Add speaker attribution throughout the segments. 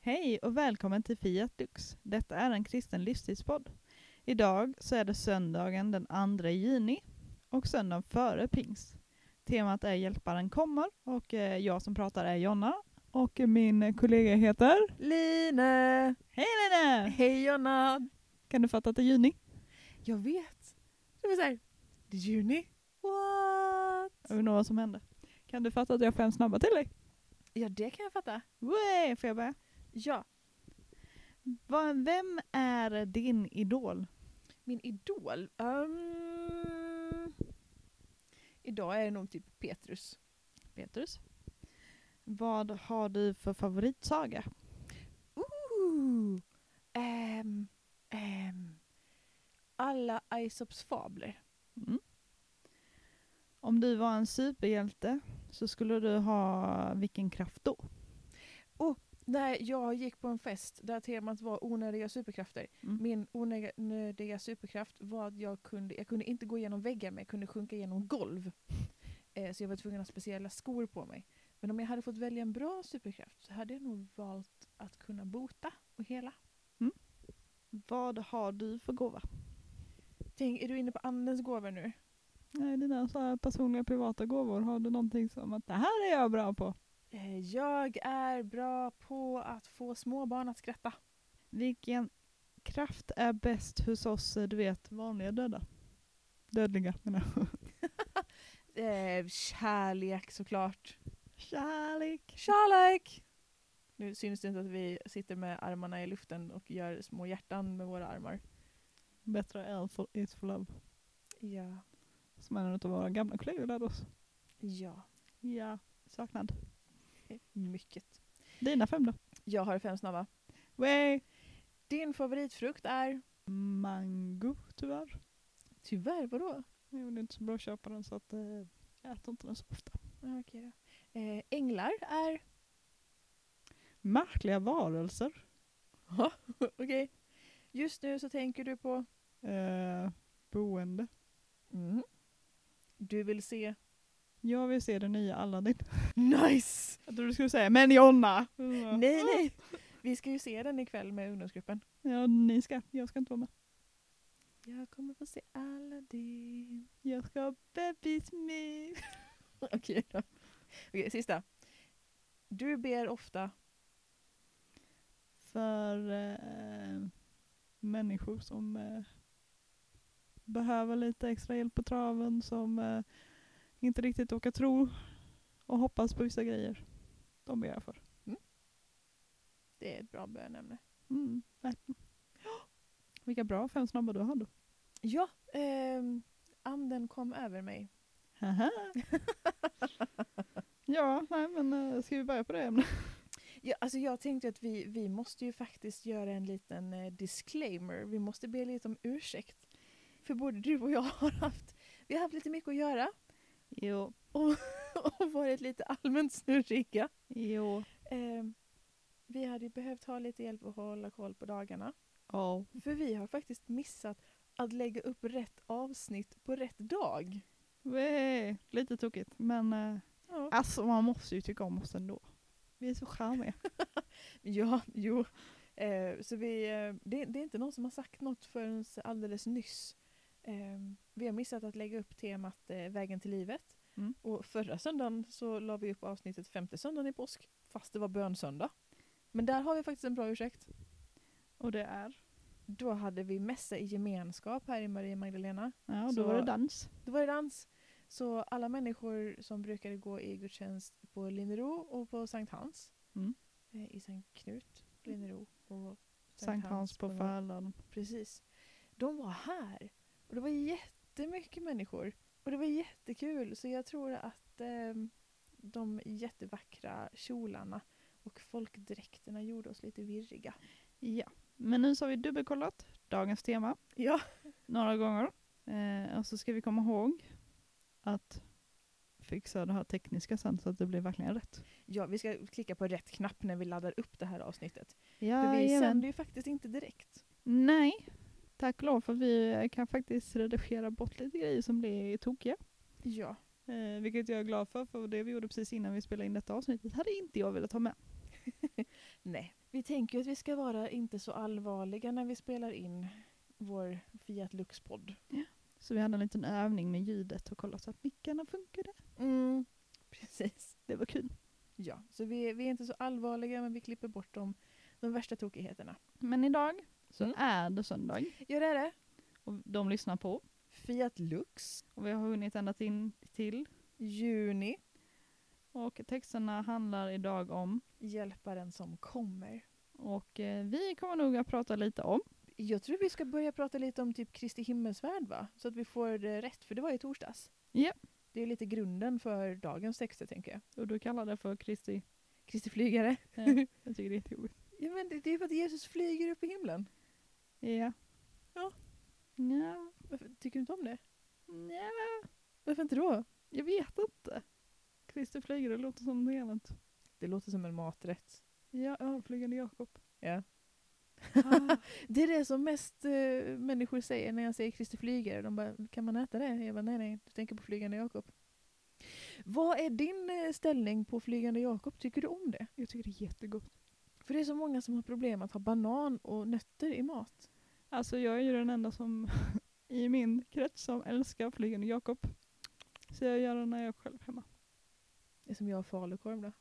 Speaker 1: Hej och välkommen till Fiat Lux. Detta är en kristen livstidspodd. Idag så är det söndagen den 2 juni och söndagen före pingst. Temat är Hjälparen kommer och eh, jag som pratar är Jonna och min kollega heter
Speaker 2: Line!
Speaker 1: Hej Lene!
Speaker 2: Hej Jonna!
Speaker 1: Kan du fatta att det är juni?
Speaker 2: Jag vet. Det var såhär, det är juni. What?
Speaker 1: Jag undrar vad som hände. Kan du fatta att jag har fem snabba till dig?
Speaker 2: Ja, det kan jag fatta.
Speaker 1: Way, får jag börja?
Speaker 2: Ja,
Speaker 1: Vad- Vem är din idol?
Speaker 2: min idol. Ehm, idag är det nog typ Petrus.
Speaker 1: Petrus. Vad har du för favoritsaga?
Speaker 2: Ooh. Ehm, ehm. alla Aesops fabler.
Speaker 1: Mm. Om du var en superhjälte så skulle du ha vilken kraft då?
Speaker 2: När jag gick på en fest där temat var onödiga superkrafter.
Speaker 1: Mm.
Speaker 2: Min onödiga superkraft var att jag kunde, jag kunde inte gå igenom väggar men jag kunde sjunka igenom golv. Eh, så jag var tvungen att ha speciella skor på mig. Men om jag hade fått välja en bra superkraft så hade jag nog valt att kunna bota och hela.
Speaker 1: Vad har du för gåva?
Speaker 2: Tänk, är du inne på andens gåvor nu?
Speaker 1: Nej, dina så här personliga privata gåvor, har du någonting som att det här är jag bra på?
Speaker 2: Eh, jag är bra på att få små barn att skratta.
Speaker 1: Vilken kraft är bäst hos oss, eh, du vet, vanliga döda? Dödliga menar jag.
Speaker 2: Eh, kärlek såklart.
Speaker 1: Kärlek!
Speaker 2: Kärlek! Nu syns det inte att vi sitter med armarna i luften och gör små hjärtan med våra armar.
Speaker 1: Bättre är for, is for love.
Speaker 2: Ja.
Speaker 1: Som en av våra gamla kollegor lärde oss.
Speaker 2: Ja.
Speaker 1: Ja, saknad.
Speaker 2: Mycket.
Speaker 1: Dina fem då?
Speaker 2: Jag har fem snabba.
Speaker 1: Way!
Speaker 2: Din favoritfrukt är?
Speaker 1: Mango, tyvärr.
Speaker 2: Tyvärr, vadå?
Speaker 1: Jag är inte så bra att köpa den så att eh, jag äter inte den så ofta.
Speaker 2: Ja, Okej då. Eh, änglar är?
Speaker 1: Märkliga varelser.
Speaker 2: Okej. Just nu så tänker du på? mm.
Speaker 1: Eh, boende.
Speaker 2: Du vill se?
Speaker 1: Jag vill se den nya Aladdin.
Speaker 2: Nice!
Speaker 1: Jag trodde du skulle säga men Jonna!
Speaker 2: Nej, nej. Vi ska ju se den ikväll med ungdomsgruppen.
Speaker 1: Ja, ni ska. Jag ska inte vara med.
Speaker 2: Jag kommer få se Aladdin.
Speaker 1: Jag ska ha bebis med.
Speaker 2: Okej då. Okej, sista. Du ber ofta.
Speaker 1: För eh, människor som eh, behöver lite extra hjälp på traven, som eh, inte riktigt orkar tro och hoppas på vissa grejer. De ber jag för.
Speaker 2: Det är ett bra bönämne.
Speaker 1: Mm, verkligen. Vilka bra fem snabba du hade.
Speaker 2: Ja, ehm, anden kom över mig.
Speaker 1: ja, nej men eh, ska vi börja på det ämnet?
Speaker 2: Ja, alltså jag tänkte att vi, vi måste ju faktiskt göra en liten eh, disclaimer. Vi måste be lite om ursäkt. För både du och jag har haft, vi har haft lite mycket att göra
Speaker 1: Jo.
Speaker 2: och varit lite allmänt snurriga.
Speaker 1: Jo.
Speaker 2: Eh, vi hade ju behövt ha lite hjälp att hålla koll på dagarna.
Speaker 1: Ja.
Speaker 2: För vi har faktiskt missat att lägga upp rätt avsnitt på rätt dag.
Speaker 1: Wee, Lite tokigt men eh,
Speaker 2: Ja,
Speaker 1: alltså man måste ju tycka om oss ändå. Vi är så charmiga.
Speaker 2: ja jo. Eh, så vi, eh, det, det är inte någon som har sagt något förrän alldeles nyss. Eh, vi har missat att lägga upp temat eh, Vägen till livet.
Speaker 1: Mm.
Speaker 2: Och förra söndagen så la vi upp avsnittet femte söndagen i påsk. Fast det var bönsöndag. Men där har vi faktiskt en bra ursäkt.
Speaker 1: Och det är?
Speaker 2: Då hade vi mässa i gemenskap här i Maria Magdalena.
Speaker 1: Ja, då
Speaker 2: Så-
Speaker 1: var det dans.
Speaker 2: Då var det dans. Så alla människor som brukade gå i gudstjänst på Linnero och på Sankt Hans.
Speaker 1: Mm.
Speaker 2: eh, I Sankt Knut, Linnero och
Speaker 1: Sankt Hans på Färlan.
Speaker 2: Precis. De var här. Och det var jättemycket människor. Och det var jättekul. Så jag tror att ehm, de jättevackra kjolarna och folkdräkterna gjorde oss lite virriga.
Speaker 1: Ja. Men nu så har vi dubbelkollat dagens tema.
Speaker 2: Ja.
Speaker 1: några gånger. Eh, och så ska vi komma ihåg att fixa det här tekniska sen så att det blir verkligen rätt.
Speaker 2: ja, vi ska klicka på rätt knapp när vi laddar upp det här avsnittet. För vi
Speaker 1: Jajamän.
Speaker 2: sänder ju faktiskt inte direkt.
Speaker 1: Nej, tack och lov för vi kan faktiskt redigera bort lite grejer som blir tokiga.
Speaker 2: Ja.
Speaker 1: Eh, vilket jag är glad för, för det vi gjorde precis innan vi spelade in detta avsnittet hade inte jag velat ha med.
Speaker 2: Nej. Vi- Vi tänker ju att vi ska vara inte så allvarliga när vi spelar in vår Fiat Lux-podd.
Speaker 1: Så vi hade en liten övning med ljudet och kollade så att mickarna funkade.
Speaker 2: Mm. Precis.
Speaker 1: Det var kul.
Speaker 2: Ja, så vi, vi är inte så allvarliga men vi klipper bort de, de värsta tokigheterna.
Speaker 1: Men idag så
Speaker 2: Mm.
Speaker 1: är det söndag
Speaker 2: Ja, det är det.
Speaker 1: och de lyssnar på.
Speaker 2: Fiat Lux,
Speaker 1: Och vi har hunnit ända in till.
Speaker 2: juni,
Speaker 1: Och texterna handlar idag om
Speaker 2: hjälparen som kommer.
Speaker 1: och eh, vi kommer nog att prata lite om.
Speaker 2: Jag tror vi ska börja prata lite om typ Kristi himmelsfärd va? Så att vi får det rätt, för det var i torsdags.
Speaker 1: Ja.
Speaker 2: Det är lite grunden för dagens texter tänker jag.
Speaker 1: Och du kallar det för Kristi.
Speaker 2: Kristi flygare.
Speaker 1: Ja, jag tycker det är lite roligt.
Speaker 2: Ja men det, det är för att Jesus flyger upp i himlen.
Speaker 1: Ja.
Speaker 2: Ja.
Speaker 1: Ja.
Speaker 2: Varför, tycker du inte om det?
Speaker 1: Nja,
Speaker 2: Varför inte då?
Speaker 1: jag vet inte. Kristi flyger, det låter som något annat.
Speaker 2: Det låter som en maträtt.
Speaker 1: Ja, ja flygande Jakob.
Speaker 2: Ja.
Speaker 1: Ah.
Speaker 2: Det är det som mest eh, människor säger när jag säger Kristi flygare. De bara, kan man äta det? Jag bara, nej nej, du tänker på Flygande Jakob. Vad är din eh, ställning på Flygande Jakob? Tycker du om det?
Speaker 1: jag tycker det är jättegott.
Speaker 2: För det är så många som har problem att ha banan och nötter i mat.
Speaker 1: Alltså jag är ju den enda som i min krets som älskar flygande Jakob. Så jag gör det när jag är själv hemma.
Speaker 2: Det är som jag och falukorv då.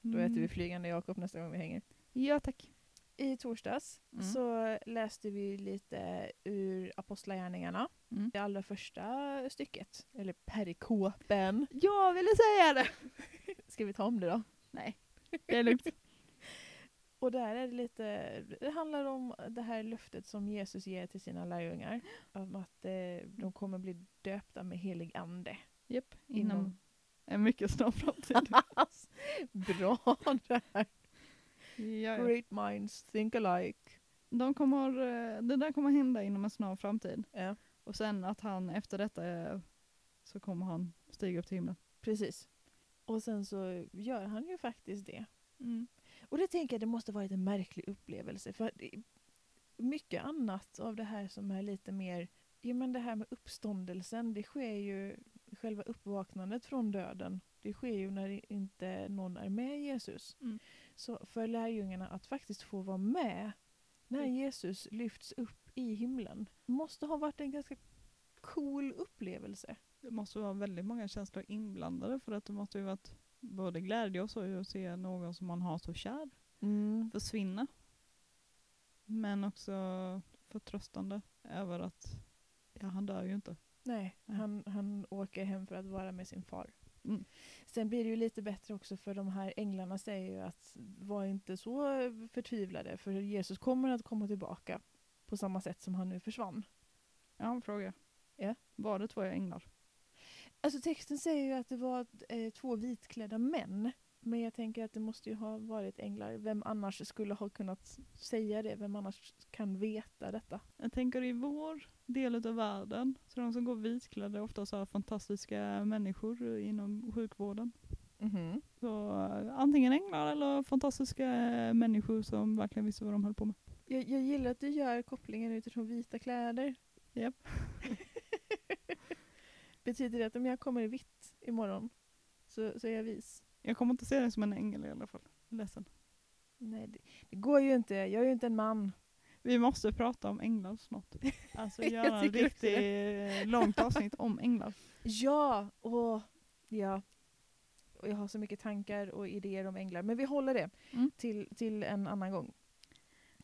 Speaker 2: Då äter
Speaker 1: Mm.
Speaker 2: vi Flygande Jakob nästa gång vi hänger.
Speaker 1: Ja tack.
Speaker 2: I torsdags
Speaker 1: Mm.
Speaker 2: så läste vi lite ur Apostlagärningarna.
Speaker 1: Mm.
Speaker 2: Det allra första stycket, eller perikopen.
Speaker 1: Jag ville säga det!
Speaker 2: Ska vi ta om det då?
Speaker 1: Nej, det är lugnt.
Speaker 2: Och där är det lite, det handlar om det här löftet som Jesus ger till sina lärjungar. Om att eh, de kommer bli döpta med helig ande.
Speaker 1: Japp,
Speaker 2: inom-
Speaker 1: inom en mycket snar framtid.
Speaker 2: Alltså, Bra där!
Speaker 1: ja,
Speaker 2: Great minds think alike.
Speaker 1: de kommer, eh, det där kommer hända inom en snar framtid.
Speaker 2: Ja,
Speaker 1: Och sen att han efter detta eh, så kommer han stiga upp till himlen.
Speaker 2: precis. Och sen så gör han ju faktiskt det.
Speaker 1: Mm.
Speaker 2: Och det tänker jag, det måste varit en märklig upplevelse. För att det- mycket annat av det här som är lite mer, ja men det här med uppståndelsen, det sker ju, själva uppvaknandet från döden, det sker ju när i- inte någon är med Jesus.
Speaker 1: Mm.
Speaker 2: Så för lärjungarna att faktiskt få vara med när
Speaker 1: Mm.
Speaker 2: Jesus lyfts upp i himlen, måste ha varit en ganska cool upplevelse.
Speaker 1: Det måste vara väldigt många känslor inblandade för att det måste ju varit både glädje och så ju att se någon som man har så kär Mm. försvinna. Men också förtröstande över att ja, han dör ju inte.
Speaker 2: Nej,
Speaker 1: Mm.
Speaker 2: han, han åker hem för att vara med sin far.
Speaker 1: Mm.
Speaker 2: Sen blir det ju lite bättre också för de här änglarna säger ju att var inte så förtvivlade för Jesus kommer att komma tillbaka på samma sätt som han nu försvann.
Speaker 1: Jag har en fråga.
Speaker 2: Ja.
Speaker 1: Var det två änglar?
Speaker 2: Alltså texten säger ju att det var eh, två vitklädda män. Men jag tänker att det måste ju ha varit änglar. Vem annars skulle ha kunnat säga det? Vem annars kan veta detta?
Speaker 1: Jag tänker i vår del av världen så de som går vitklädda är ofta så här fantastiska människor inom sjukvården. Så eh, antingen änglar eller fantastiska eh, människor som verkligen visste vad de höll på med.
Speaker 2: Jag, jag gillar att du gör kopplingen utifrån vita kläder.
Speaker 1: Japp.
Speaker 2: Betyder det att om jag kommer i vitt imorgon så, så är jag vis?
Speaker 1: Jag kommer inte se dig som en ängel i alla fall. Ledsen.
Speaker 2: Nej, det, det går ju inte. Jag är ju inte en man.
Speaker 1: Vi måste prata om änglar snart. Alltså
Speaker 2: Jag
Speaker 1: göra en
Speaker 2: tycker också
Speaker 1: riktigt eh, långt avsnitt om änglar.
Speaker 2: Ja, och ja. Och jag har så mycket tankar och idéer om änglar. Men vi håller det
Speaker 1: Mm.
Speaker 2: till, till en annan gång.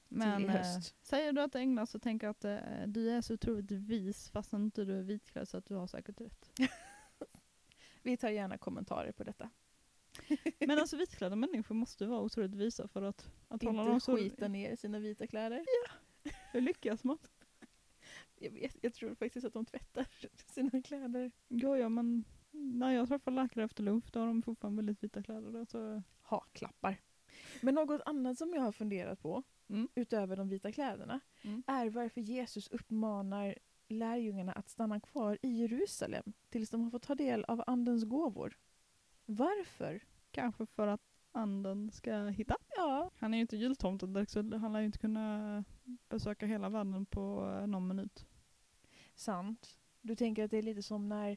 Speaker 1: Men
Speaker 2: i höst.
Speaker 1: eh, säger du att det är änglar så tänker jag att eh, du är så otroligt vis fast inte du är vitklädd så att du har säkert rätt.
Speaker 2: Vi tar gärna kommentarer på detta.
Speaker 1: Men alltså vitklädda människor måste vara otroligt visa för att, att hålla dem
Speaker 2: inte
Speaker 1: så
Speaker 2: skita ner sina vita kläder.
Speaker 1: Hur lyckas man?
Speaker 2: Jag, vet, jag tror faktiskt att de tvättar sina kläder.
Speaker 1: Ja, ja men när jag träffar läkare efter lunch då har de fortfarande väldigt vita kläder. Alltså,
Speaker 2: haklappar. Men något annat som jag har funderat på,
Speaker 1: Mm.
Speaker 2: utöver de vita kläderna,
Speaker 1: Mm.
Speaker 2: är varför Jesus uppmanar lärjungarna att stanna kvar i Jerusalem tills de har fått ta del av Andens gåvor. Varför?
Speaker 1: kanske för att anden ska hitta.
Speaker 2: Ja,
Speaker 1: Han är ju inte jultomten direkt så han lär ju inte kunna besöka hela världen på eh, någon minut.
Speaker 2: sant. Du tänker att det är lite som när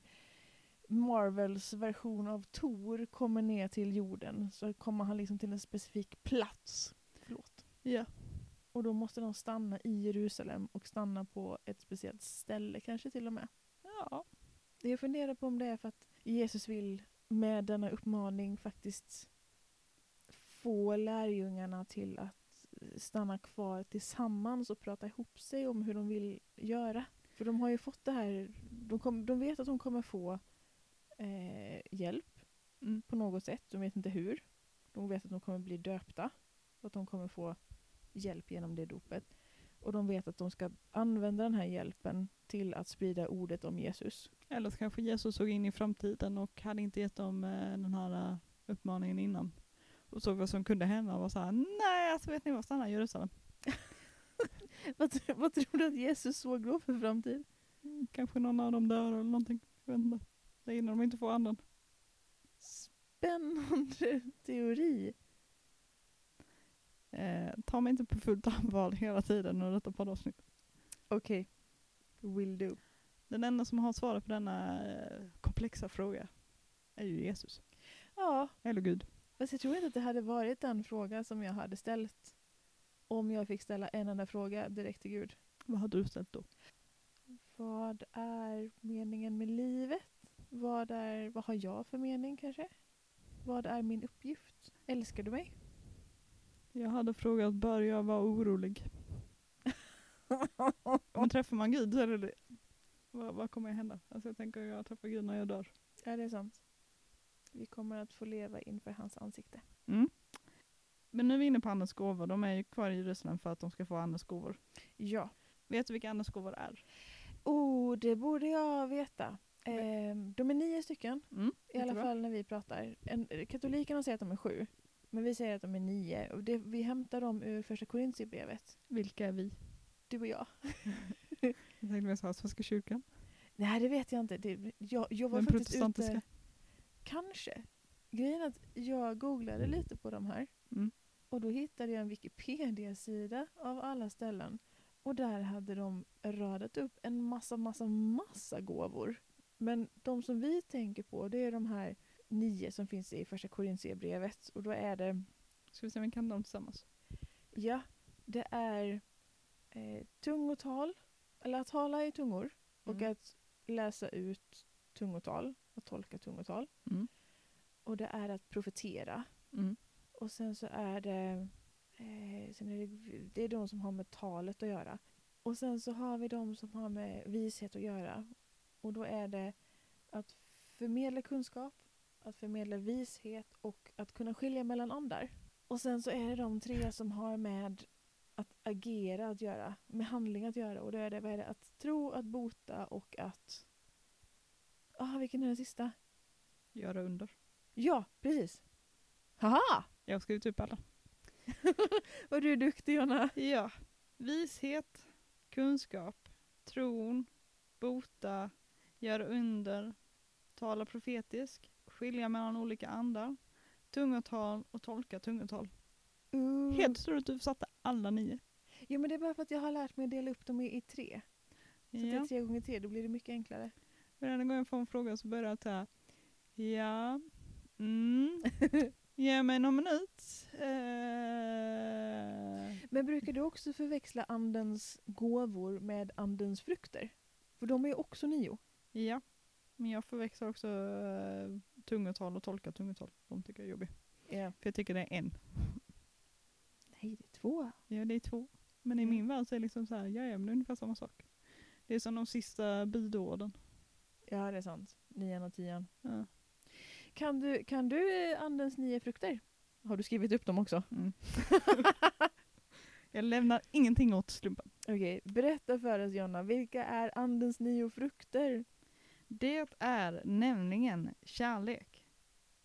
Speaker 2: Marvels version av Thor kommer ner till jorden så kommer han liksom till en specifik plats. Förlåt.
Speaker 1: Ja.
Speaker 2: Och då måste de stanna i Jerusalem och stanna på ett speciellt ställe kanske till och med.
Speaker 1: Ja.
Speaker 2: Det jag funderar på om det är för att Jesus vill med denna uppmaning faktiskt få lärjungarna till att stanna kvar tillsammans och prata ihop sig om hur de vill göra. För de har ju fått det här, de, kom, de vet att de kommer få eh, hjälp
Speaker 1: Mm.
Speaker 2: på något sätt, de vet inte hur. De vet att de kommer bli döpta och att de kommer få hjälp genom det dopet. Och de vet att de ska använda den här hjälpen till att sprida ordet om Jesus.
Speaker 1: Eller så kanske Jesus såg in i framtiden och hade inte gett dem eh, den här eh, uppmaningen innan. Och såg vad som kunde hända och var såhär, nej alltså vet ni vad, stanna i Jerusalem.
Speaker 2: Vad, tr- vad tror du att Jesus såg då för framtid?
Speaker 1: Mm, Kanske någon av dem dör eller någonting. Jag vet inte. Det är innan de inte får anden.
Speaker 2: Spännande teori.
Speaker 1: Eh, ta mig inte på fullt allvar hela tiden under detta poddavsnitt.
Speaker 2: Okej. Will do.
Speaker 1: Den enda som har svaret på denna eh, komplexa fråga är ju Jesus.
Speaker 2: Ja,
Speaker 1: Eller Gud.
Speaker 2: fast jag tror inte att det hade varit den fråga som jag hade ställt om jag fick ställa en enda fråga direkt till Gud.
Speaker 1: Vad har du ställt då?
Speaker 2: Vad är meningen med livet? Vad, är, vad har jag för mening kanske? Vad är min uppgift? Älskar du mig?
Speaker 1: Jag hade frågat, bör jag vara orolig? Men träffar man Gud så är det det. Vad, vad kommer att hända? Alltså jag tänker jag träffar Gud när jag dör.
Speaker 2: Ja, det är sant. Vi kommer att få leva inför hans ansikte.
Speaker 1: Men nu är vi inne på Andens gåvor. De är ju kvar i Jerusalem för att de ska få Andens gåvor.
Speaker 2: Ja.
Speaker 1: Vet du vilka Andens gåvor är?
Speaker 2: Oh, det borde jag veta. Eh, de är nio stycken.
Speaker 1: Mm,
Speaker 2: I alla
Speaker 1: jättebra.
Speaker 2: fall när vi pratar. En, katolikerna säger att de är sju. Men vi säger att de är nio. Och det, vi hämtar dem ur första Korintierbrevet.
Speaker 1: Vilka är vi?
Speaker 2: Du och jag.
Speaker 1: Jag tänkte mer såhär, Svenska kyrkan.
Speaker 2: Nej, det vet jag inte. Det, jag, jag var
Speaker 1: Den
Speaker 2: faktiskt
Speaker 1: protestantiska.
Speaker 2: ute... Kanske. Grejen är att jag googlade lite på de här.
Speaker 1: Mm.
Speaker 2: Och då hittade jag en Wikipedia-sida av alla ställen. Och där hade de radat upp en massa, massa, massa gåvor. Men de som vi tänker på det är de här nio som finns i första Korintierbrevet. Och då är det
Speaker 1: Ska vi se om vi kan dem tillsammans?
Speaker 2: Ja, det är eh, tungotal, eller att tala i tungor och
Speaker 1: Mm.
Speaker 2: att läsa ut tungotal och tolka tungotal.
Speaker 1: Mm.
Speaker 2: Och det är att profetera.
Speaker 1: Mm.
Speaker 2: Och sen så är det, eh, sen är det, det är de som har med talet att göra. Och sen så har vi de som har med vishet att göra. Och då är det att förmedla kunskap, att förmedla vishet och att kunna skilja mellan andar. Och sen så är det de tre som har med att agera att göra, med handling att göra. Och då är det, vad är det att tro, att bota och att... Ah, vilken är den sista?
Speaker 1: Göra under.
Speaker 2: Ja, precis! Haha!
Speaker 1: Jag har skrivit upp alla.
Speaker 2: Vad du är duktig Jonna!
Speaker 1: Ja. Vishet, kunskap, tron, bota, göra under, tala profetisk, skilja mellan olika andar, tungotal och tolka tungotal.
Speaker 2: Ooh.
Speaker 1: Helt otroligt, du satte alla nio.
Speaker 2: Mm. Jo men det är bara för att jag har lärt mig att dela upp dem i, i tre. Så att det är
Speaker 1: Ja.
Speaker 2: tre gånger tre, då blir det mycket enklare.
Speaker 1: Varenda gång jag får en fråga så börjar jag så här. Ja. Mm. Ge mig någon minut. Eh.
Speaker 2: Men brukar du också förväxla andens gåvor med andens frukter? För de är ju också nio.
Speaker 1: Ja. Men jag förväxlar också eh, tungotal och tolka tungotal. De tycker jag är jobbiga.
Speaker 2: Ja.
Speaker 1: För jag tycker det är en.
Speaker 2: Nej, det är två.
Speaker 1: Ja, det är två. Men i
Speaker 2: Mm.
Speaker 1: min värld så är det liksom så här, ja, ja, men det är ungefär samma sak. Det är som de sista budorden.
Speaker 2: Ja, det är sant. Nian och tian.
Speaker 1: Ja.
Speaker 2: Kan du, kan du eh, andens nio frukter? Har du skrivit upp dem också?
Speaker 1: Mm. jag lämnar ingenting åt slumpen.
Speaker 2: Okej, berätta för oss Jonna, vilka är andens nio frukter?
Speaker 1: Det är nämligen kärlek,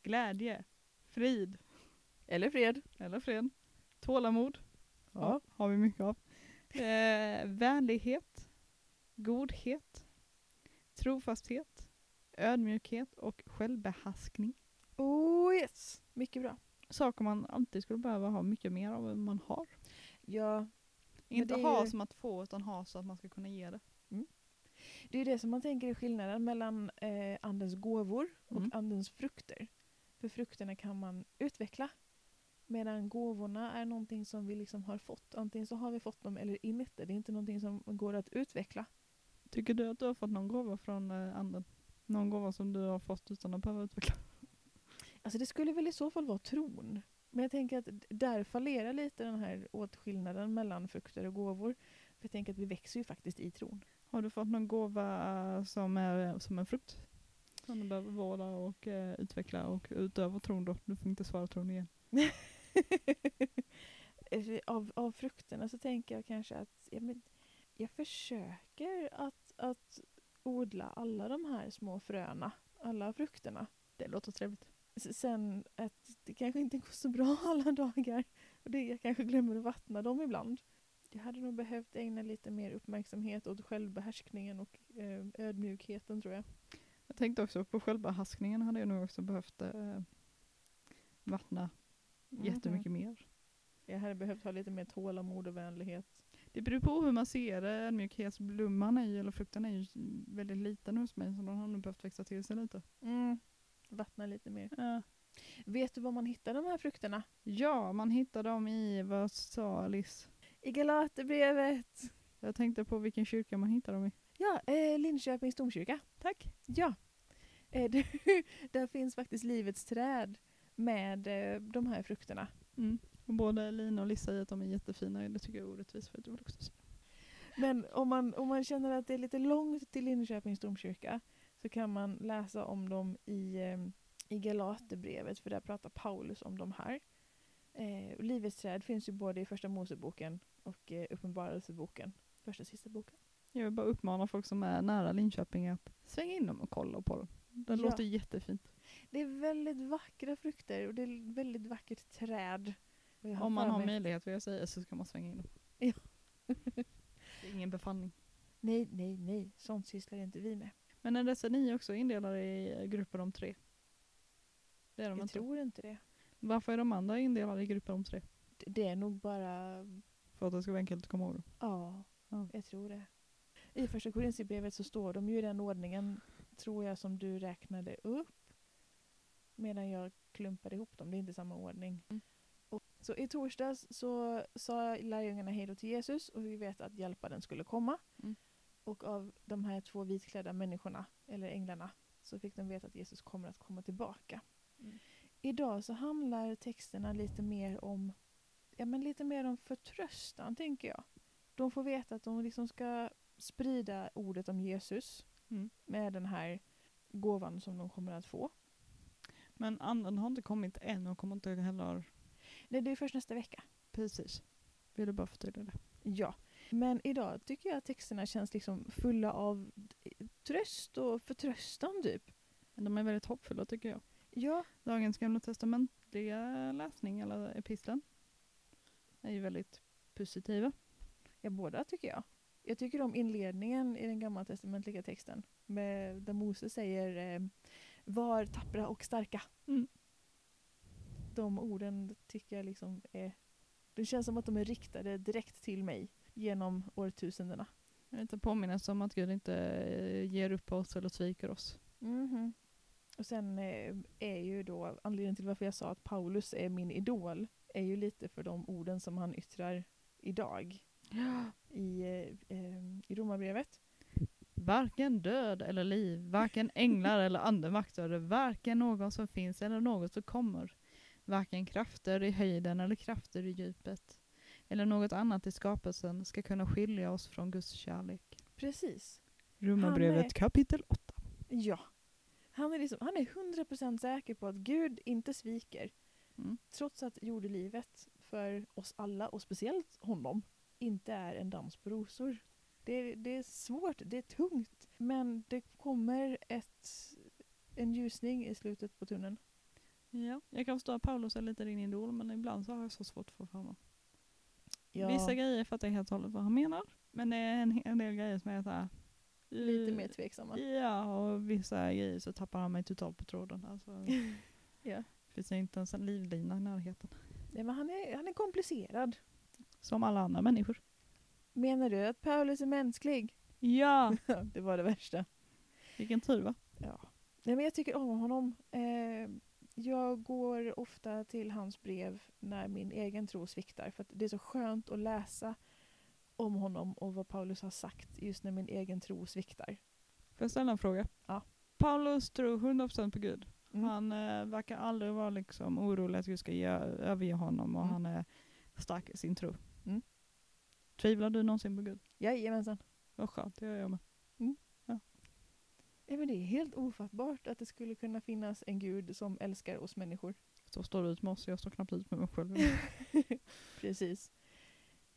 Speaker 1: glädje, frid,
Speaker 2: Eller fred?
Speaker 1: eller fred, tålamod, Ja. har vi mycket av. Eh, vänlighet, godhet, trofasthet, ödmjukhet och självbehärskning.
Speaker 2: Oh yes! Mycket bra.
Speaker 1: Saker man alltid skulle behöva ha mycket mer av än man har.
Speaker 2: Ja, Men
Speaker 1: Inte
Speaker 2: det är
Speaker 1: ha
Speaker 2: ju-
Speaker 1: som att få utan ha så att man ska kunna ge det.
Speaker 2: Det är det som man tänker är skillnaden mellan eh, andens gåvor och
Speaker 1: Mm.
Speaker 2: andens frukter. För frukterna kan man utveckla. Medan gåvorna är någonting som vi liksom har fått. Antingen så har vi fått dem eller inte. Det är inte någonting som går att utveckla.
Speaker 1: Tycker du att du har fått någon gåva från eh, anden? Någon gåva som du har fått utan att behöva utveckla?
Speaker 2: Alltså det skulle väl i så fall vara tron. Men jag tänker att d- där fallerar lite den här åtskillnaden mellan frukter och gåvor. För jag tänker att vi växer ju faktiskt i tron.
Speaker 1: Har du fått någon gåva eh, som är som en frukt? Som du behöver vårda och eh, utveckla och utöva tron då? Du får inte svara tron igen.
Speaker 2: eh, av, av frukterna så tänker jag kanske att ja, men jag försöker att, att odla alla de här små fröna, alla frukterna.
Speaker 1: Det låter trevligt.
Speaker 2: S- Sen att det kanske inte går så bra alla dagar. Och det, jag kanske glömmer att vattna dem ibland. Jag hade nog behövt ägna lite mer uppmärksamhet åt självbehärskningen och eh, ödmjukheten tror jag.
Speaker 1: Jag tänkte också på själva haskningen hade jag nog också behövt eh, vattna Mm. jättemycket mer.
Speaker 2: Mhm. Jag hade behövt ha lite mer tålamod och vänlighet.
Speaker 1: Det beror på hur man ser det. Ödmjukhetsblomman är ju, eller frukten är ju väldigt liten hos mig så den har nog behövt växa till sig lite.
Speaker 2: Vattna lite mer.
Speaker 1: Ja.
Speaker 2: Vet du var man hittar de här frukterna?
Speaker 1: Ja, man hittar dem i, vad sa Liz?
Speaker 2: I Galaterbrevet!
Speaker 1: Jag tänkte på vilken kyrka man hittar dem i.
Speaker 2: Ja, eh, Linköpings domkyrka.
Speaker 1: Tack.
Speaker 2: Ja. Eh, det, där finns faktiskt livets träd med eh, de här frukterna.
Speaker 1: Mm. Och både Lina och Liz säger att de är jättefina. Det tycker jag är orättvist för att jag vill också säga.
Speaker 2: Men om man, om man känner att det är lite långt till Linköpings domkyrka så kan man läsa om dem i, eh, i Galaterbrevet för där pratar Paulus om de här. Eh, och livets träd finns ju både i Första Moseboken och eh, Uppenbarelseboken. Första och sista boken.
Speaker 1: Jag vill bara uppmana folk som är nära Linköping att svänga in dem och kolla på dem. Det
Speaker 2: Ja.
Speaker 1: låter jättefint.
Speaker 2: Det är väldigt vackra frukter och det är väldigt vackert träd. Och jag
Speaker 1: Om man
Speaker 2: för
Speaker 1: har
Speaker 2: mig-
Speaker 1: möjlighet vill jag säga så ska man svänga in dem.
Speaker 2: Ja.
Speaker 1: det är ingen befanning.
Speaker 2: Nej, nej, nej. Sånt sysslar inte vi med.
Speaker 1: Men är dessa nio också indelade i grupper om tre? Det är de
Speaker 2: jag
Speaker 1: inte.
Speaker 2: tror inte det.
Speaker 1: Varför är de andra indelade i grupper om tre?
Speaker 2: D- Det är nog bara...
Speaker 1: För att det ska vara enkelt att komma ihåg. dem.
Speaker 2: Ja,
Speaker 1: Ja.
Speaker 2: jag tror det. I första Korintierbrevet så står de ju i den ordningen, tror jag, som du räknade upp. Medan jag klumpade ihop dem, det är inte samma ordning.
Speaker 1: Mm.
Speaker 2: Och, så i torsdags så sa lärjungarna hej då till Jesus och vi vet att hjälparen skulle komma.
Speaker 1: Mm.
Speaker 2: Och av de här två vitklädda människorna, eller änglarna, så fick de veta att Jesus kommer att komma tillbaka.
Speaker 1: Mm.
Speaker 2: Idag så handlar texterna lite mer om, ja, men lite mer om förtröstan, tänker jag. De får veta att de liksom ska sprida ordet om Jesus
Speaker 1: Mm.
Speaker 2: med den här gåvan som de kommer att få.
Speaker 1: Men anden har inte kommit än och kommer inte heller...
Speaker 2: Nej, det är först nästa vecka.
Speaker 1: Precis. Vill du bara förtydliga det?
Speaker 2: Ja. Men idag tycker jag att texterna känns liksom fulla av tröst och förtröstan typ.
Speaker 1: Men de är väldigt hoppfulla tycker jag.
Speaker 2: Ja,
Speaker 1: Dagens gamla testamentliga läsning, eller episteln, är ju väldigt positiva.
Speaker 2: ja båda tycker jag. Jag tycker om inledningen i den gammaltestamentliga texten. Med, där Moses säger eh, Var tappra och starka.
Speaker 1: Mm.
Speaker 2: De orden tycker jag liksom är... Det känns som att de är riktade direkt till mig genom årtusendena.
Speaker 1: En liten påminnelse om att Gud inte eh, ger upp oss eller sviker oss.
Speaker 2: Mhm. Och sen eh, är ju då anledningen till varför jag sa att Paulus är min idol är ju lite för de orden som han yttrar idag i, eh, eh, i Romarbrevet.
Speaker 1: Varken död eller liv, varken änglar eller andemakter, varken någon som finns eller något som kommer. Varken krafter i höjden eller krafter i djupet, eller något annat i skapelsen ska kunna skilja oss från Guds kärlek.
Speaker 2: Precis. Han är-
Speaker 1: Romarbrevet kapitel 8.
Speaker 2: Ja. Han är, liksom, han är 100% säker på att Gud inte sviker.
Speaker 1: Mm.
Speaker 2: Trots att jordelivet för oss alla och speciellt honom inte är en dans på rosor. Det, det är svårt, det är tungt. Men det kommer ett, en ljusning i slutet på tunneln.
Speaker 1: Ja, jag kan förstå att Paulus är lite din idol, men ibland så har jag så svårt för honom. Vissa grejer fattar jag helt och hållet vad han menar, men det är en hel del grejer som är eh, såhär...
Speaker 2: lite mer tveksamma.
Speaker 1: Ja, och vissa grejer så tappar han mig totalt på tråden. Alltså,
Speaker 2: Ja.
Speaker 1: finns ju inte ens en livlina i närheten.
Speaker 2: Nej, men han, är, han är komplicerad.
Speaker 1: Som alla andra människor.
Speaker 2: Menar du att Paulus är mänsklig?
Speaker 1: Ja!
Speaker 2: det var det värsta.
Speaker 1: Vilken tur va?
Speaker 2: Nej, men jag tycker om honom. Eh, Jag går ofta till hans brev när min egen tro sviktar. För att det är så skönt att läsa om honom och vad Paulus har sagt just när min egen tro sviktar.
Speaker 1: Får jag ställa en fråga?
Speaker 2: Ja.
Speaker 1: Paulus tror 100% på Gud.
Speaker 2: Mm.
Speaker 1: Han eh, verkar aldrig vara liksom orolig att Gud ska ge, överge honom och
Speaker 2: Mm.
Speaker 1: han är stark i sin tro.
Speaker 2: Mm.
Speaker 1: Tvivlar du någonsin på Gud?
Speaker 2: Jajamensan.
Speaker 1: Vad skönt, det gör jag med.
Speaker 2: Ja, men det är helt ofattbart att det skulle kunna finnas en gud som älskar oss människor.
Speaker 1: Så står du ut med oss, jag står knappt ut med mig själv.
Speaker 2: Precis.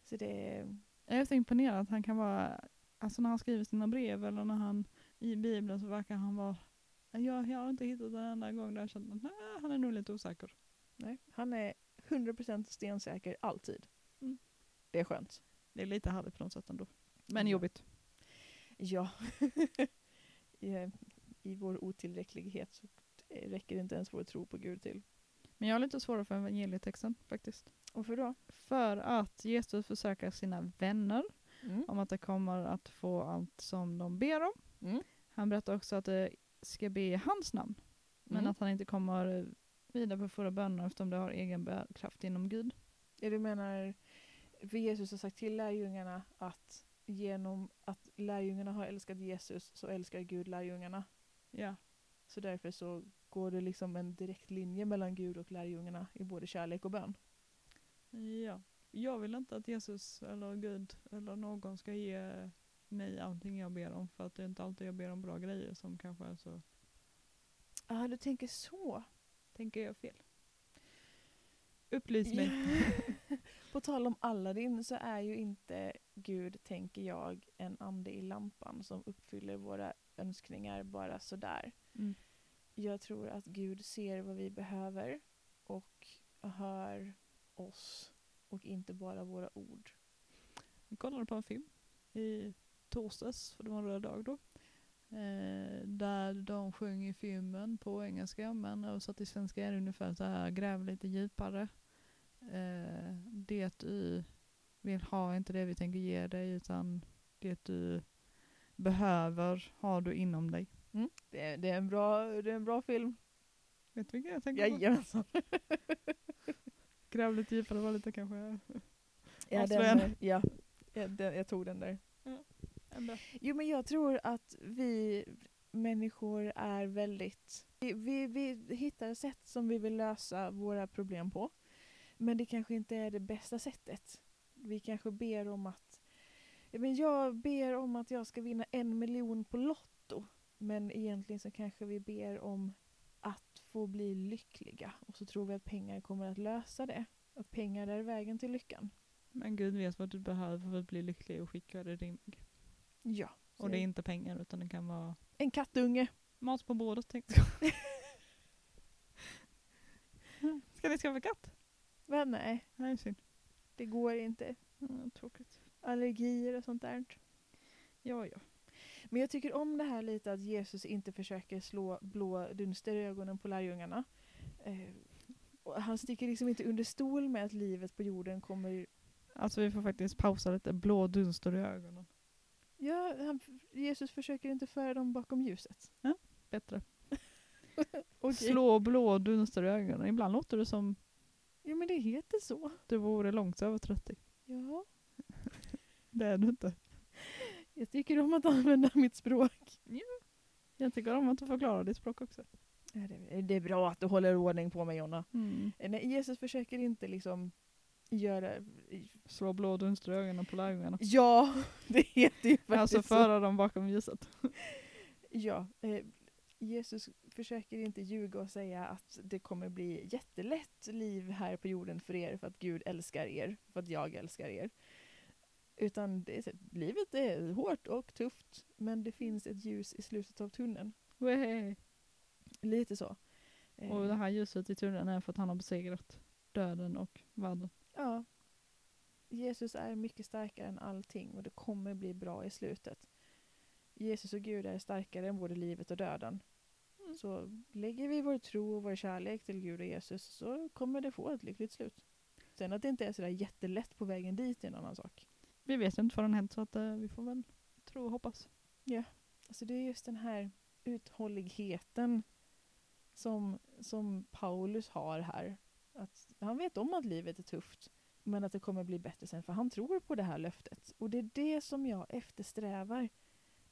Speaker 2: Så det är...
Speaker 1: jag är så imponerad att han kan vara, alltså när han skriver sina brev eller när han i Bibeln så verkar han vara, jag, jag har inte hittat en enda gång där jag känt att nej, han är nog lite osäker.
Speaker 2: Nej, han är 100% stensäker alltid.
Speaker 1: Mm.
Speaker 2: Det är skönt.
Speaker 1: Det är lite härligt på något sätt ändå. Men
Speaker 2: Ja.
Speaker 1: jobbigt.
Speaker 2: Ja. I, I vår otillräcklighet så räcker inte ens vår tro på Gud till.
Speaker 1: Men jag har lite svårare för evangelietexten faktiskt.
Speaker 2: Och för då?
Speaker 1: För att Jesus försöker sina vänner
Speaker 2: Mm.
Speaker 1: om att de kommer att få allt som de ber om.
Speaker 2: Mm.
Speaker 1: Han berättar också att de ska be i hans namn, men
Speaker 2: Mm.
Speaker 1: att han inte kommer vidarebefordra bönerna eftersom de har egen bö- kraft inom Gud.
Speaker 2: Ja, du menar, för Jesus har sagt till lärjungarna att genom att lärjungarna har älskat Jesus så älskar Gud lärjungarna.
Speaker 1: Ja.
Speaker 2: Så därför så går det liksom en direkt linje mellan Gud och lärjungarna i både kärlek och bön.
Speaker 1: ja. Jag vill inte att Jesus eller Gud eller någon ska ge mig allting jag ber om för att det är inte alltid jag ber om bra grejer som kanske är så
Speaker 2: Ah, du tänker så.
Speaker 1: tänker jag fel. Upplys
Speaker 2: Ja.
Speaker 1: mig.
Speaker 2: På tal om Aladdin så är ju inte Gud, tänker jag, en ande i lampan som uppfyller våra önskningar bara sådär.
Speaker 1: Mm.
Speaker 2: Jag tror att Gud ser vad vi behöver och hör oss och inte bara våra ord.
Speaker 1: Jag kollade på en film i torsdags, för det var en röd dag då. Eh, där de sjöng i filmen på engelska men översatt till svenska är det ungefär så här gräv lite djupare. Eh, det du vill ha är inte det vi tänker ge dig utan det du behöver har du inom dig.
Speaker 2: Det är, det är, en, bra, det är en bra film.
Speaker 1: Vet du vilken jag tänker på?
Speaker 2: Jajamensan.
Speaker 1: Gräv lite djupare var lite kanske
Speaker 2: Ja,
Speaker 1: Avslöjande.
Speaker 2: den, ja, ja, den, jag tog den där.
Speaker 1: ändå.
Speaker 2: Jo men jag tror att vi människor är väldigt... Vi, vi, vi hittar sätt som vi vill lösa våra problem på. Men det kanske inte är det bästa sättet. Vi kanske ber om att... Ja, men jag ber om att jag ska vinna en miljon på Lotto. Men egentligen så kanske vi ber om att få bli lyckliga. Och så tror vi att pengar kommer att lösa det. Att pengar är vägen till lyckan.
Speaker 1: Men Gud vet vad du behöver för att bli lycklig och skickad i din väg.
Speaker 2: Ja.
Speaker 1: Och det är inte pengar utan det kan vara
Speaker 2: En kattunge.
Speaker 1: Mat på bordet tänkte jag. Ska ni skaffa katt?
Speaker 2: Va? Nej,
Speaker 1: Nej, synd.
Speaker 2: det går inte.
Speaker 1: Mm, tråkigt.
Speaker 2: allergier och sånt där.
Speaker 1: Ja, ja.
Speaker 2: Men jag tycker om det här lite att Jesus inte försöker slå blå dunster i ögonen på lärjungarna. Eh, och han sticker liksom inte under stol med att livet på jorden kommer...
Speaker 1: Alltså vi får faktiskt pausa lite. Blå dunster i ögonen.
Speaker 2: Ja, han, Jesus försöker inte föra dem bakom ljuset.
Speaker 1: Bättre.
Speaker 2: Okej.
Speaker 1: Slå blå dunster i ögonen. Ibland låter det som
Speaker 2: Jo men det heter så.
Speaker 1: du vore långt över 30.
Speaker 2: Ja.
Speaker 1: Det är du inte.
Speaker 2: Jag tycker om att använda mitt språk.
Speaker 1: Jag tycker om att du förklarar ditt språk också.
Speaker 2: Ja, det, det är bra att du håller ordning på mig Jonna.
Speaker 1: Mm.
Speaker 2: Eh, Nej, Jesus försöker inte liksom göra...
Speaker 1: Slå blå dunster i ögonen på lärjungarna.
Speaker 2: Ja, det heter ju faktiskt
Speaker 1: Alltså
Speaker 2: så.
Speaker 1: föra dem bakom ljuset.
Speaker 2: Ja, eh, Jesus försöker inte ljuga och säga att det kommer bli jättelätt liv här på jorden för er för att Gud älskar er, för att jag älskar er. Utan det är, så här, livet är hårt och tufft men det finns ett ljus i slutet av tunneln.
Speaker 1: Wehey.
Speaker 2: Lite så. Eh,
Speaker 1: Och det här ljuset i tunneln är för att han har besegrat döden och världen.
Speaker 2: Ja. Jesus är mycket starkare än allting och det kommer bli bra i slutet. Jesus och Gud är starkare än både livet och döden.
Speaker 1: Mm.
Speaker 2: Så lägger vi vår tro och vår kärlek till Gud och Jesus så kommer det få ett lyckligt slut. Sen att det inte är sådär jättelätt på vägen dit är en annan sak.
Speaker 1: Vi vet ju inte vad den hänt så att eh, vi får väl tro och hoppas.
Speaker 2: Alltså det är just den här uthålligheten som, som Paulus har här. Att han vet om att livet är tufft, men att det kommer bli bättre sen, för han tror på det här löftet. Och det är det som jag eftersträvar.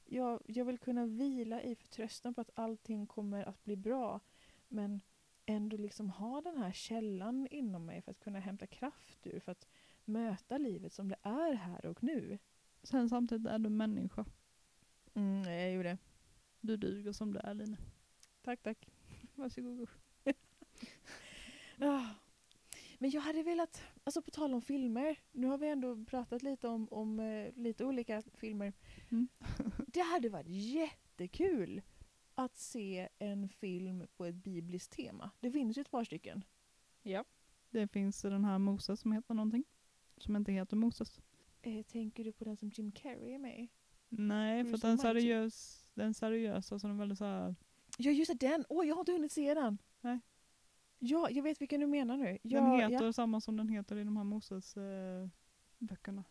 Speaker 2: Jag, jag vill kunna vila i förtröstan på att allting kommer att bli bra, men ändå liksom ha den här källan inom mig för att kunna hämta kraft ur, för att möta livet som det är här och nu.
Speaker 1: Sen samtidigt är du människa.
Speaker 2: Mm, jag gjorde det.
Speaker 1: Du duger som du är Lina.
Speaker 2: Tack, tack.
Speaker 1: Varsågod.
Speaker 2: Ah. Men jag hade velat, alltså på tal om filmer, nu har vi ändå pratat lite om, om eh, lite olika filmer.
Speaker 1: Mm.
Speaker 2: det hade varit jättekul att se en film på ett bibliskt tema. Det finns ju ett par stycken.
Speaker 1: Det finns den här Moses som heter någonting. Som inte heter Moses.
Speaker 2: Eh, tänker du på den som Jim Carrey är med i?
Speaker 1: Nej,
Speaker 2: Mm,
Speaker 1: för att
Speaker 2: som
Speaker 1: den,
Speaker 2: Mighty.
Speaker 1: seriös, den seriösa som är väldigt så här.
Speaker 2: Ja just det, den! Åh, jag har inte hunnit se den!
Speaker 1: Nej.
Speaker 2: Ja, jag vet vilken du menar nu.
Speaker 1: Den
Speaker 2: Ja,
Speaker 1: heter
Speaker 2: ja.
Speaker 1: samma som den heter i de här Moses eh, böckerna.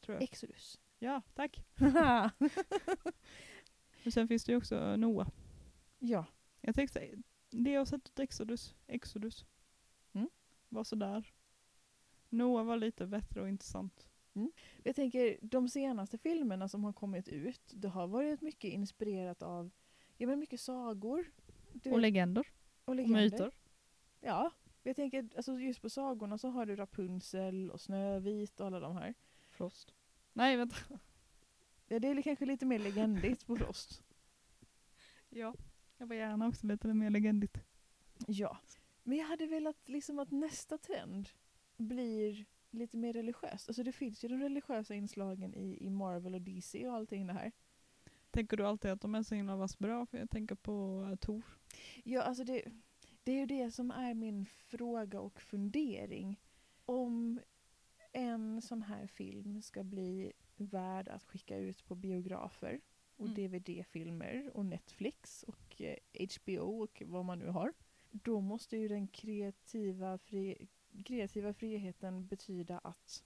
Speaker 1: Tror jag.
Speaker 2: Exodus.
Speaker 1: Ja, tack. Och sen finns det ju också eh, Noah.
Speaker 2: ja.
Speaker 1: Jag tänkte säga, det jag har sett ut Exodus, Exodus.
Speaker 2: Mm.
Speaker 1: Var sådär. Noah var lite bättre och intressant.
Speaker 2: Jag tänker, de senaste filmerna som har kommit ut, det har varit mycket inspirerat av ja, men mycket sagor. Du
Speaker 1: Och
Speaker 2: vet,
Speaker 1: legender.
Speaker 2: och
Speaker 1: Och
Speaker 2: legender.
Speaker 1: myter.
Speaker 2: Ja. Jag tänker, alltså just på sagorna så har du Rapunzel och Snövit och alla de här.
Speaker 1: Frost. Nej, vänta.
Speaker 2: Ja, det är kanske lite mer legendigt på Frost.
Speaker 1: Ja, jag var gärna också lite mer legendigt.
Speaker 2: Ja. Men jag hade velat liksom att nästa trend blir lite mer religiös. Alltså det finns ju de religiösa inslagen i, i Marvel och DC och allting det här.
Speaker 1: Tänker du alltid att de är så himla vass bra? För jag tänker på eh, Tor.
Speaker 2: Ja, alltså det, det är ju det som är min fråga och fundering. Om en sån här film ska bli värd att skicka ut på biografer och
Speaker 1: Mm.
Speaker 2: dvd-filmer och Netflix och eh, HBO och vad man nu har. Då måste ju den kreativa, fri, kreativa friheten betyda att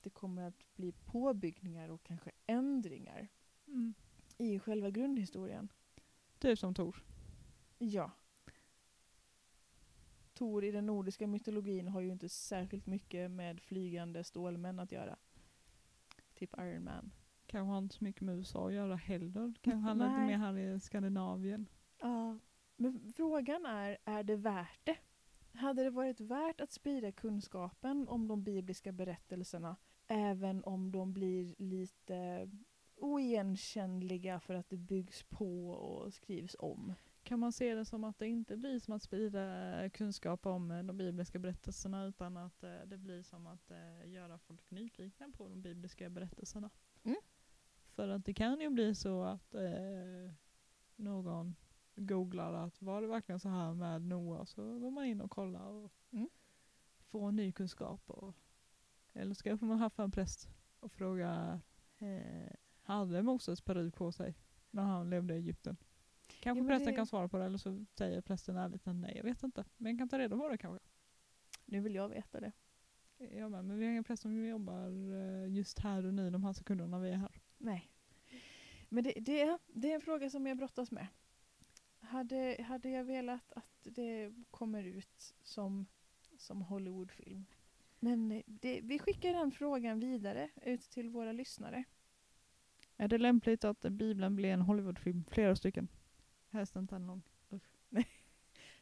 Speaker 2: det kommer att bli påbyggningar och kanske ändringar
Speaker 1: Mm.
Speaker 2: i själva grundhistorien.
Speaker 1: Typ som Tor.
Speaker 2: Ja. Tor i den nordiska mytologin har ju inte särskilt mycket med flygande stålmän att göra. Typ Iron Man.
Speaker 1: Kanske har inte så mycket med USA att göra heller. Kanske handlar lite
Speaker 2: Nej.
Speaker 1: mer här i Skandinavien.
Speaker 2: Ja. Men frågan är, är det värt det? Hade det varit värt att sprida kunskapen om de bibliska berättelserna även om de blir lite oigenkännliga för att det byggs på och skrivs om?
Speaker 1: Kan man se det som att det inte blir som att sprida eh, kunskap om eh, de bibliska berättelserna utan att eh, det blir som att eh, göra folk nyfikna på de bibliska berättelserna?
Speaker 2: Mm.
Speaker 1: För att det kan ju bli så att eh, någon googlar att var det verkligen så här med Noah så går man in och kollar och
Speaker 2: Mm.
Speaker 1: får ny kunskap. Och, eller ska man haffa en präst och fråga eh, hade Moses peruk på sig när han levde i Egypten? Kanske
Speaker 2: Ja, men
Speaker 1: prästen
Speaker 2: det-
Speaker 1: kan svara på det eller så säger prästen ärligt att nej jag vet inte. Men jag kan ta reda på det kanske.
Speaker 2: Nu vill jag veta det.
Speaker 1: Ja, men, men vi har ingen präst som jobbar eh, just här och nu de här sekunderna vi är här.
Speaker 2: Nej. Men det, det, är- det är en fråga som jag brottas med. Hade, hade jag velat att det kommer ut som, som Hollywoodfilm? Men eh, det, vi skickar den frågan vidare ut till våra lyssnare.
Speaker 1: Är det lämpligt att Bibeln blir en Hollywoodfilm? Flera stycken. Helst inte en lång.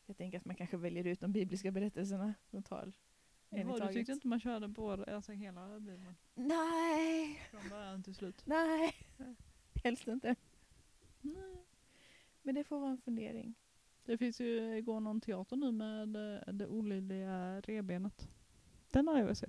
Speaker 2: Jag tänker att man kanske väljer ut de bibliska berättelserna och tar en i
Speaker 1: Jaha, du
Speaker 2: taget.
Speaker 1: tyckte inte man körde båda, alltså hela Bibeln?
Speaker 2: Nej,
Speaker 1: Från början till slut.
Speaker 2: nej. Helst inte.
Speaker 1: Nej.
Speaker 2: Men det får vara en fundering.
Speaker 1: Det finns ju, går någon teater nu med eh, det olydiga rebenet. Den har jag velat se.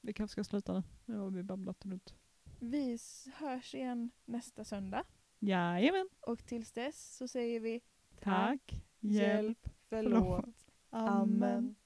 Speaker 1: Vi kanske ska sluta nu. Nu har vi babblat runt.
Speaker 2: Vi s- hörs igen nästa söndag.
Speaker 1: Jajamän.
Speaker 2: Och tills dess så säger vi
Speaker 1: Tack. Hjälp.
Speaker 2: Förlåt.
Speaker 1: Amen.